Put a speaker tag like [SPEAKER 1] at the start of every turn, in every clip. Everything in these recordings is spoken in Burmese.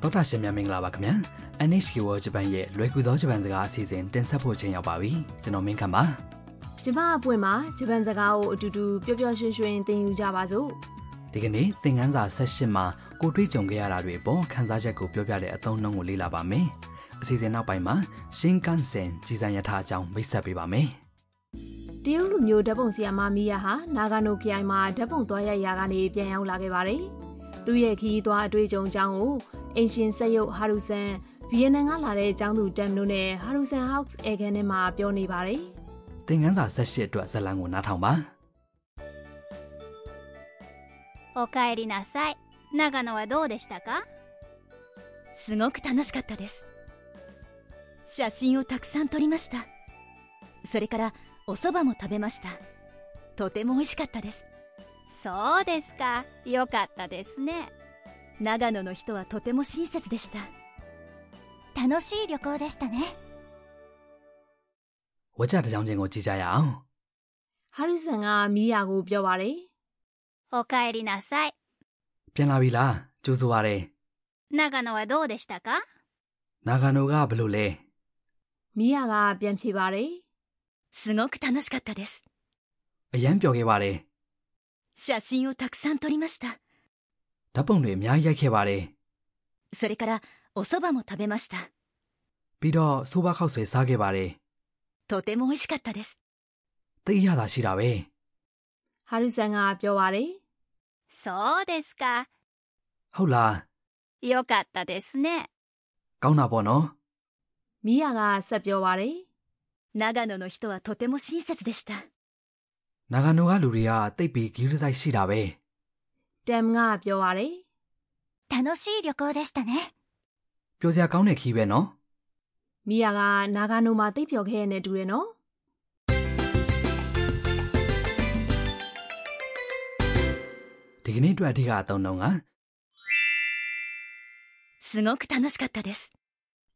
[SPEAKER 1] တောတာရှင်များမင်္ဂလာပါခင်ဗျာ NHK World Japan ရဲ့လွယ်ကူသောဂျပန်စကားအစီအစဉ်တင်ဆက်ဖို့ချိန်ရောက်ပါပြီကျွန်တော်မင်းခမ်းပါ
[SPEAKER 2] ဂျပန်အပွင့်မှာဂျပန်စကားကိုအတူတူပျော်ပျော်ရွှင်ရွှင်သင်ယူကြပါစို့
[SPEAKER 1] ဒီကနေ့သင်ခန်းစာ16မှာကိုတွေ့ကြုံခဲ့ရတာတွေအပေါ်ခန်းစားချက်ကိုပြောပြတဲ့အသုံးအနှုန်းကိုလေ့လာပါမယ်အစီအစဉ်နောက်ပိုင်းမှာရှင်းကန်ဆန်ကြီးစံရထားအကြောင်းမိတ်ဆက်ပေးပါမယ်
[SPEAKER 2] တရုတ်လူမျိုးဓာတ်ပုံဆရာမမီယာဟာနာဂါနိုခရိုင်မှာဓာတ်ပုံသွားရိုက်ရာကနေပြန်ရောက်လာခဲ့ပါတယ်သူ့ရဲ့ခရီးသွားအတွေ့အကြုံအကြောင်းကိုအင်ရှင်ဆက်ရုပ်ဟာရူဆန်ဗီယက်နမ်ကလာတဲ့အကြောင်းသူတမ်နိုနဲ့ဟာရူဆန်ဟောက်စ်အေဂန်နဲ့မှာပြောနေပါတယ်
[SPEAKER 1] သင်ခန်းစာ16အတွက်ဇာတ်လမ်းကိုနားထောင်ပါ
[SPEAKER 3] お帰りなさい長野はどうでしたか
[SPEAKER 4] すごく楽しかったです写真をたくさん撮りましたそれからお蕎麦も食べましたとても美味しかったです
[SPEAKER 3] そうですかよかったですね
[SPEAKER 4] 長野の人はとても親切でした
[SPEAKER 3] 楽しい旅行でしたね
[SPEAKER 1] ဝါကြတစ်ကြောင်းချင်းကိုကြည့်ကြရအောင်
[SPEAKER 2] ဟာရူဆန်ကမီယာကိုပြောပါတယ်
[SPEAKER 3] お帰りなさい
[SPEAKER 1] ပြန်လာပြီလားကြိုးစားပါတယ်
[SPEAKER 3] 長野はどうでしたか
[SPEAKER 1] နာဂန်နိုကဘယ်လိုလဲ
[SPEAKER 2] မီယာကပြန်ဖြေပါတယ်
[SPEAKER 4] すごく楽しかったです
[SPEAKER 1] အရန်ပျော်ခဲ့ပါတယ်
[SPEAKER 4] 写真をたくさん撮りました
[SPEAKER 1] ဓာတ်ပုံတွေအများကြီးရိုက်ခဲ့ပါတယ်
[SPEAKER 4] それからお蕎麦も食べました
[SPEAKER 1] ပြီးတော့ဆိုဘာခောက်ဆွဲစားခဲ့ပါတယ်
[SPEAKER 4] とても美味しかったです
[SPEAKER 1] သိရတာရှိတာပဲ
[SPEAKER 2] ဟာရူဆန်ကပြောပါတယ်
[SPEAKER 3] そうですか
[SPEAKER 1] ဟုတ်လား
[SPEAKER 3] よかったですね
[SPEAKER 1] ကောင်းတာပေါ့နော်
[SPEAKER 2] မီယာကဆက်ပြောပါတယ်
[SPEAKER 4] 長野の人はとても親切でした
[SPEAKER 1] နာဂန်နိုကလူတွေကတိတ်ပြီးဂီရဆိုင်ရှိတာပဲ
[SPEAKER 2] တမ်ကပြောပါတယ်
[SPEAKER 3] 楽しい旅行でしたね
[SPEAKER 1] ပျော်စရာကောင်းတဲ့ခီးပဲနော်
[SPEAKER 2] မီယာကနာဂါနိုမှာတိတ်ပျော်ခဲ့ရတဲ့တူတယ်နော်
[SPEAKER 1] ဒီကနေ့အတွက်အဓိကအသုံးနှုန်းက
[SPEAKER 4] すごく楽しかったです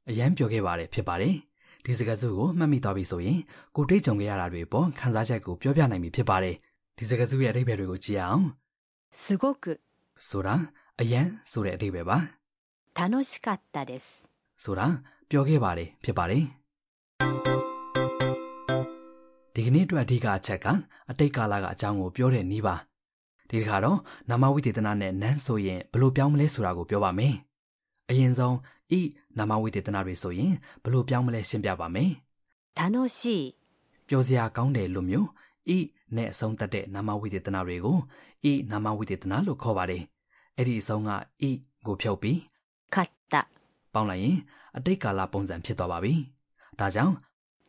[SPEAKER 1] အရန်ပျော်ခဲ့ပါတယ်ဖြစ်ပါတယ်ဒီစကားစုကိုမှတ်မိသွားပြီဆိုရင်ကိုတိတ်ကြုံခဲ့ရတာတွေပေါ့ခန်းစားချက်ကိုပြောပြနိုင်ပြီဖြစ်ပါတယ်ဒီစကားစုရဲ့အဓိပ္ပာယ်တွေကိုကြည့်ရအောင်
[SPEAKER 4] すごく
[SPEAKER 1] ဆိုတာအရန်ဆိုတဲ့အဓိပ္ပာယ်ပါ
[SPEAKER 4] 楽しかったです
[SPEAKER 1] ဆိုတာပျော်ခဲ့ပါတယ်ဖြစ်ပါတယ်ဒီကနေ့အတွက်အဓိကအချက်ကအတိတ်ကာလကအကြောင်းကိုပြောတဲ့နည်းပါဒီတစ်ခါတော့နာမဝိသေသနနဲ့နန်းဆိုရင်ဘယ်လိုပြောင်းမလဲဆိုတာကိုပြောပါမယ်အရင်ဆုံးဤနာမဝိသေသနတွေဆိုရင်ဘယ်လိုပြောင်းမလဲရှင်းပြပါမယ်
[SPEAKER 4] 楽しい
[SPEAKER 1] ပျော်စရာကောင်းတယ်လို့မျိုးဤနဲ့အဆုံးသတ်တဲ့နာမဝိသေသနတွေကိုဤနာမဝိသေသနလို့ခေါ်ပါတယ်အဲ့ဒီအဆုံးကဤကိုဖြုတ်ပြီး
[SPEAKER 4] かった
[SPEAKER 1] ပေါင်းလိုက်ရင်အတိတ်ကာလပုံစံဖြစ်သွားပါပြီ။ဒါကြောင့်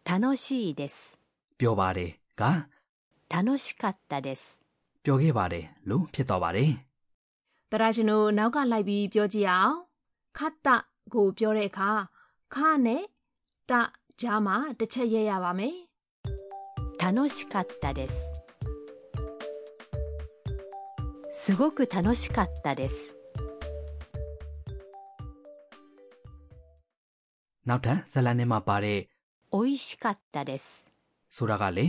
[SPEAKER 4] 楽しいです
[SPEAKER 1] ပြောပါတယ်က
[SPEAKER 4] 楽しかったです
[SPEAKER 1] ပြောခဲ့ပါတယ်လို့ဖြစ်သွားပါတယ်
[SPEAKER 2] တရာရှင်တို့နောက်ကလိုက်ပြီးပြောကြည့်အောင်ခတ်တကိုပြောတဲ့အခါခနဲ့တကြားမှာတစ်ချက်ရက်ရပါမယ်
[SPEAKER 4] 楽しかったですすごく楽しかったです
[SPEAKER 1] ။နောက်ထပ်ဇတ်လန်ထဲမှာပါတဲ့
[SPEAKER 4] 美味しかったです
[SPEAKER 1] ဆိုတာကလေ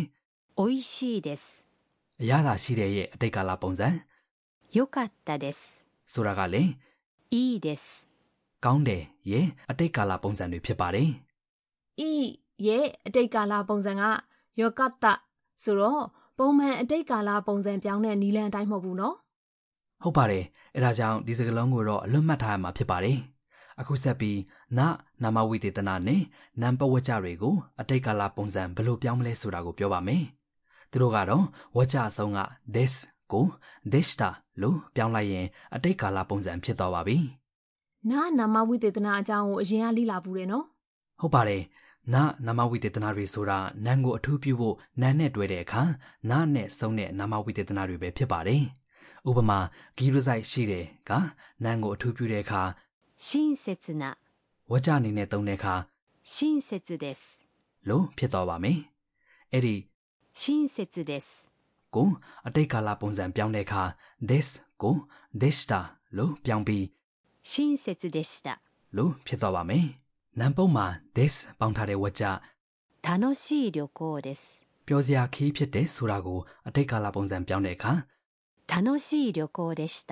[SPEAKER 4] 美味しいです
[SPEAKER 1] အရသာရှိတဲ့ရဲ့အတိတ်ကာလပုံစံ
[SPEAKER 4] 良かったです
[SPEAKER 1] ဆိုတာကလေ
[SPEAKER 4] いいです
[SPEAKER 1] ကောင်းတယ်ရဲ့အတိတ်ကာလပုံစံတွေဖြစ်ပါတယ်
[SPEAKER 2] ဤရဲ့အတိတ်ကာလပုံစံကယောကတဆိုတော့ပုံမှန်အတိတ်ကာလပုံစံပြောင်းတဲ့နီလန်အတိုင်းမဟုတ်ဘူးနော်
[SPEAKER 1] ။ဟုတ်ပါတယ်။အဲဒါကြောင့်ဒီစကားလုံးကိုတော့အလွတ်မှတ်ထားရမှာဖြစ်ပါတယ်။အခုဆက်ပြီးနနာမဝိသေသနနဲ့နံပဝကြတွေကိုအတိတ်ကာလပုံစံဘယ်လိုပြောင်းမလဲဆိုတာကိုပြောပါမယ်။သူတို့ကတော့ဝကြအဆုံးက this ကို deshta လို့ပြောင်းလိုက်ရင်အတိတ်ကာလပုံစံဖြစ်သွားပါပြီ
[SPEAKER 2] နာနာမဝိသေသနာအကြောင်းကိုအရင်ကလေ့လာဘူးတယ်နော်
[SPEAKER 1] ။ဟုတ်ပါတယ်။နနာမဝိသေသနတွေဆိုတာနံကိုအထူးပြုဖို့နံနဲ့တွဲတဲ့အခါနနဲ့ဆုံးတဲ့နာမဝိသေသနတွေပဲဖြစ်ပါတယ်။ဥပမာဂီရဆိုင်ရှိတယ်ကနံကိုအထူးပြုတဲ့အခါ
[SPEAKER 4] 親切な
[SPEAKER 1] ဝကြအနေနဲ့သုံးတဲ့အခါ
[SPEAKER 4] 親切です
[SPEAKER 1] လို့ဖြစ်သွားပါမယ်။အဲ့ဒီ
[SPEAKER 4] 親切です
[SPEAKER 1] ကိုအတိတ်ကာလပုံစံပြောင်းတဲ့အခါ this ကို this တာလို့ပြောင်းပြီး
[SPEAKER 4] 親切でした
[SPEAKER 1] လို့ဖြစ်သွားပါမယ်။နံပုံမှာ this ပေါင်းထားတဲ့ဝကြ
[SPEAKER 4] 楽しい旅行です
[SPEAKER 1] ပျော်စရာခီးဖြစ်တယ်ဆိုတာကိုအတိတ်ကာလပုံစံပြောင်းတဲ့အခါ
[SPEAKER 4] 楽しい旅行でした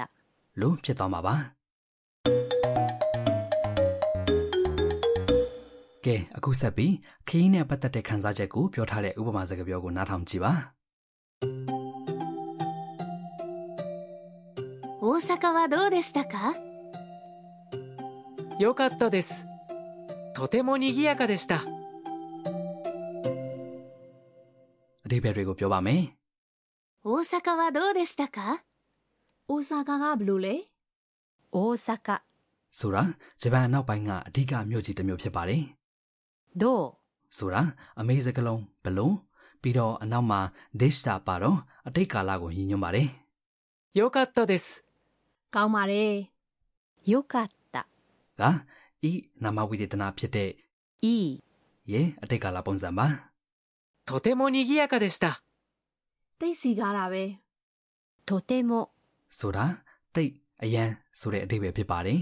[SPEAKER 1] လို့ဖြစ်သွားမှာပါ ကဲအခုဆက်ပြီးခရီးနဲ့ပတ်သက်တဲ့ခန်းစားချက်ကိုပြောထားတဲ့ဥပမာစကားပြောကိုနားထောင်ကြည့်ပါ
[SPEAKER 3] 大阪はどうでしたか
[SPEAKER 5] 良かったです。とても賑やかでした。
[SPEAKER 1] အဓိပ္ပာယ်တွေကိုပြောပါမယ်
[SPEAKER 3] 大阪はどうでしたか
[SPEAKER 2] အိုဆာကာကဘယ်လိုလဲ
[SPEAKER 4] 大阪
[SPEAKER 1] ဆိုတာဂျပန်အနောက်ပိုင်းကအဓိကမြို့ကြီးတစ်မြို့ဖြစ်ပါတယ်
[SPEAKER 4] ど
[SPEAKER 1] ဆိုတာအမေစကလုံးဘလုံးပြီးတော့အနောက်မှာဒေရှတာပါတော့အတိတ်ကာလကိုညှိညွှန်းပါတယ်
[SPEAKER 5] 良かったです。
[SPEAKER 2] ကောင်းပါတယ်
[SPEAKER 4] うよかった
[SPEAKER 1] ကဤနာမဝိသေသနာဖြစ်တဲ့
[SPEAKER 4] いい
[SPEAKER 1] ရေအတိတ်ကာလပုံစံပါ
[SPEAKER 5] とても賑やかでした。
[SPEAKER 2] တိတ်စီကားတာပဲ
[SPEAKER 4] とても
[SPEAKER 1] ဆိုတာတိတ်အယံဆိုတဲ့အဓိပ္ပာယ်ဖြစ်ပါတယ်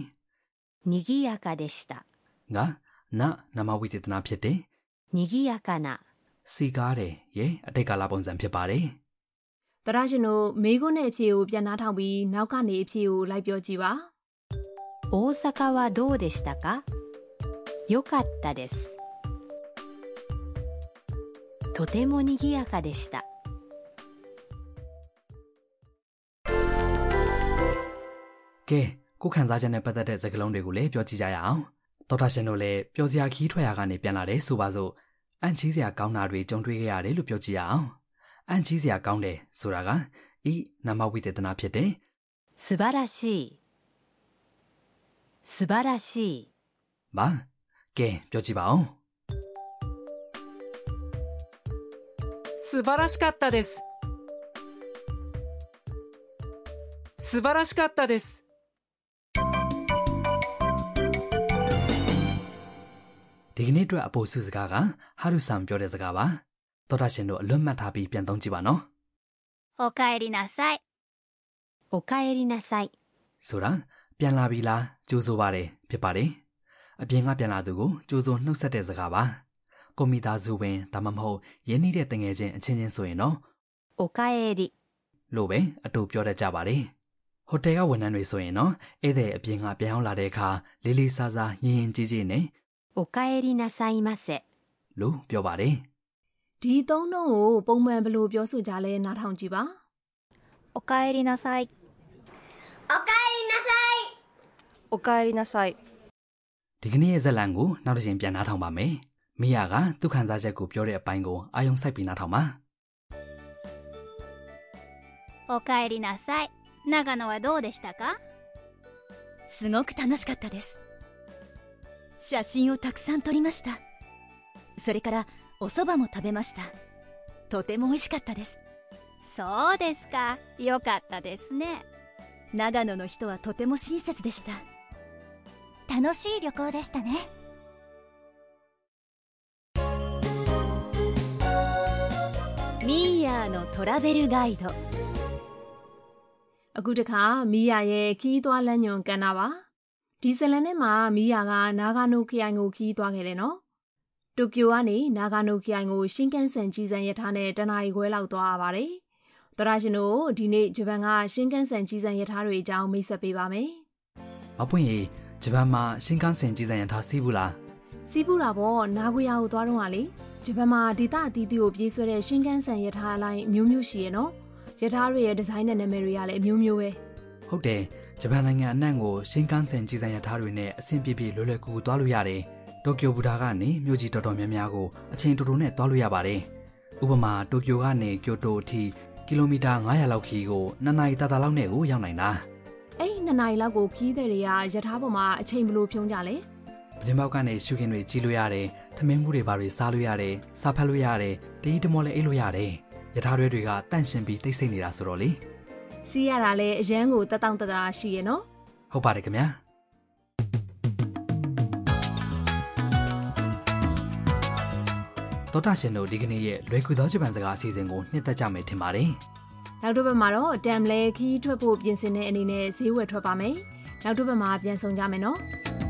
[SPEAKER 4] にぎやかでした
[SPEAKER 1] ကနနာမဝိသေသနာဖြစ်တဲ့
[SPEAKER 4] にぎやかな
[SPEAKER 1] စီကားတယ်ရေအတိတ်ကာလပုံစံဖြစ်ပါတယ်
[SPEAKER 2] တရရှင်တို့မိခွန်းနဲ့အဖြေကိုပြန်နှားထောင်ပြီးနောက်ကနေအဖြေကိုလိုက်ပြောကြည့်ပါ
[SPEAKER 4] 大阪はどうでしたかよかったですとてもにぎやかでした
[SPEAKER 1] ကဲကိုယ်ခန်းစားချက်နဲ့ပတ်သက်တဲ့စကားလုံးတွေကိုလည်းပြောကြည့်ကြရအောင်ဒေါက်တာရှင်တို့လည်းပျော်စရာခီးထွက်ရာကနေပြန်လာတယ်ဆိုပါစို့အန်ချီးစရာကောင်းတာတွေကြုံတွေ့ခဲ့ရတယ်လို့ပြောကြည့်ရအောင်အန်ချီးစရာကောင်းတယ်ဆိုတာကဤနာမဝိသေသနာဖြစ်တယ်
[SPEAKER 4] 素晴らしい素晴らしい
[SPEAKER 1] ပါကဲပြောကြည့်ပါဦး
[SPEAKER 5] 素晴らしかったです。素晴らしかったです。
[SPEAKER 1] ဒီကနေ့အတွက်အပိုစုစကားကဟာရုဆန်ပြောတဲ့စကားပါသောတာရှင်တို့အလွတ်မှတ်ထားပြီးပြန်သုံးကြည့်ပါနော်
[SPEAKER 3] おかえりなさい
[SPEAKER 4] おかえりなさい
[SPEAKER 1] ဆိုတာပြန်လာပြီလားကြိုးဆိုပါတယ်ဖြစ်ပါတယ်အပြင်ကပြန်လာသူကိုကြိုးဆိုနှုတ်ဆက်တဲ့စကားပါကိုမိသားစုဝင်ဒါမှမဟုတ်ရင်းနှီးတဲ့တငယ်ချင်းအချင်းချင်းဆိုရင်တော့
[SPEAKER 4] おかえり
[SPEAKER 1] လို့ပဲအတူပြောတတ်ကြပါတယ်ဟိုတယ်ကဝန်ထမ်းတွေဆိုရင်တော့ဧည့်သည်အပြင်ကပြန်ရောက်လာတဲ့အခါလေးလေးစားစားရင်ရင်ကြီးကြီးနဲ့
[SPEAKER 4] おかえりなさいませ
[SPEAKER 1] လို့ပြောပါတယ်
[SPEAKER 2] ဒီသုံးနှုန်းကိုပုံမှန်ဘယ်လိုပြောဆိုကြလဲနားထောင်ကြည့်ပါ
[SPEAKER 3] おかえりなさいおかえ
[SPEAKER 6] おかえ
[SPEAKER 3] りなさい
[SPEAKER 6] りなさい
[SPEAKER 1] ဒီကနေ့ရဲ့ဇက်လန်ကိုနောက်တစ်ချိန်ပြန်နှားထောင်ပါမယ်။မိယာကသူ့ခံစားချက်ကိုပြောတဲ့အပိုင်းကိုအာယုံစိုက်ပြီးနှားထောင်ပါ
[SPEAKER 3] おかえりなさい長野はどうでしたか
[SPEAKER 4] すごく楽しかったです写真をたくさん撮りましたそれからお蕎麦も食べましたとても美味しかったです
[SPEAKER 3] そうですかよかったですね
[SPEAKER 4] 長野の人はとても親切でした
[SPEAKER 3] 楽しい旅行でしたね
[SPEAKER 4] ミーヤーのトラベルガイド
[SPEAKER 2] အခုတခါမိယာရဲ့ခီးသွွားလမ်းညွန်ကန်တာပါဒီဇလန်နဲ့မှာမိယာကနာဂါနိုခရိုင်ကိုခီးသွွားခဲ့တယ်နော်တိုကျိုကနေနာဂါနိုခရိုင်ကိုရှင်းကန်ဆန်ကြီးစံရထားနဲ့တနားရီခွဲလောက်သွားရပါတယ်တရရှင်တို့ဒီနေ့ဂျပန်ကရှင်းကန်ဆန်ကြီးစံရထားတွေအကြောင်းမိတ်ဆက်ပေးပါမယ်
[SPEAKER 1] ။မပွင့်ရင်ဂျပန်မှာရှင်းကန်းစင်ကြီးစံရထားစီးဘူးလား
[SPEAKER 2] စီးပူတာပေါ့နာဂူယာကိုသွားတော့ကလေဂျပန်မှာဒေသအသီးသီးကိုပြေးဆွဲတဲ့ရှင်းကန်ဆန်ရထားအလိုက်အမျိုးမျိုးရှိရနော်ရထားတွေရဲ့ဒီဇိုင်းနဲ့နာမည်တွေကလည်းအမျိုးမျိုးပဲ
[SPEAKER 1] ။ဟုတ်တယ်။ဂျပန်နိုင်ငံအနှံ့ကိုရှင်းကန်းစင်ကြီးစံရထားတွေနဲ့အဆင်ပြေပြေလွယ်လွယ်ကူကူသွားလို့ရတယ်။တိုကျိုဘူတာကနေမြို့ကြီးတော်တော်များများကိုအချိန်တူတူနဲ့သွားလို့ရပါတယ်။ဥပမာတိုကျိုကနေကျိုတိုအထိကီလိုမီတာ900လောက်ခီကိုနှစ်နာရီတာတာလောက်နဲ့ကိုရောက်နိုင်တာ။
[SPEAKER 2] အဲ့နှစ်နာရီလောက်ကိုခီးတဲ့တွေကရထားပေါ်မှာအချိန်ဘလို့ဖြုံးကြလဲ
[SPEAKER 1] ပတင်းပေါက်ကနေရှုခင်တွေကြီးလို့ရတယ်။ထမင်းမှုတွေဘာတွေစားလို့ရတယ်။စားဖက်လို့ရတယ်။တည်တမောလည်းအိတ်လို့ရတယ်။ယထာတွဲတွေကတန့်ရှင်ပြီးတိတ်ဆိတ်နေတာဆိုတော့လေ
[SPEAKER 2] စီးရတာလဲအရန်ကိုတက်တောင့်တက်တာရှိရနော်
[SPEAKER 1] ။ဟုတ်ပါတယ်ခင်ဗျာ။တော်တာရှင်တို့ဒီကနေ့ရဲ့လွယ်ကူသောဂျပန်စကားအစီအစဉ်ကိုနှစ်သက်ကြမယ်ထင်ပါတယ်
[SPEAKER 2] နောက်တစ်ပတ်မှာတော့တမ်လဲခီးထွက်ဖို့ပြင်ဆင်တဲ့အနေနဲ့ဈေးဝယ်ထွက်ပါမယ်နောက်တစ်ပတ်မှာပြန်ဆောင်ကြမယ်နော်
[SPEAKER 1] ။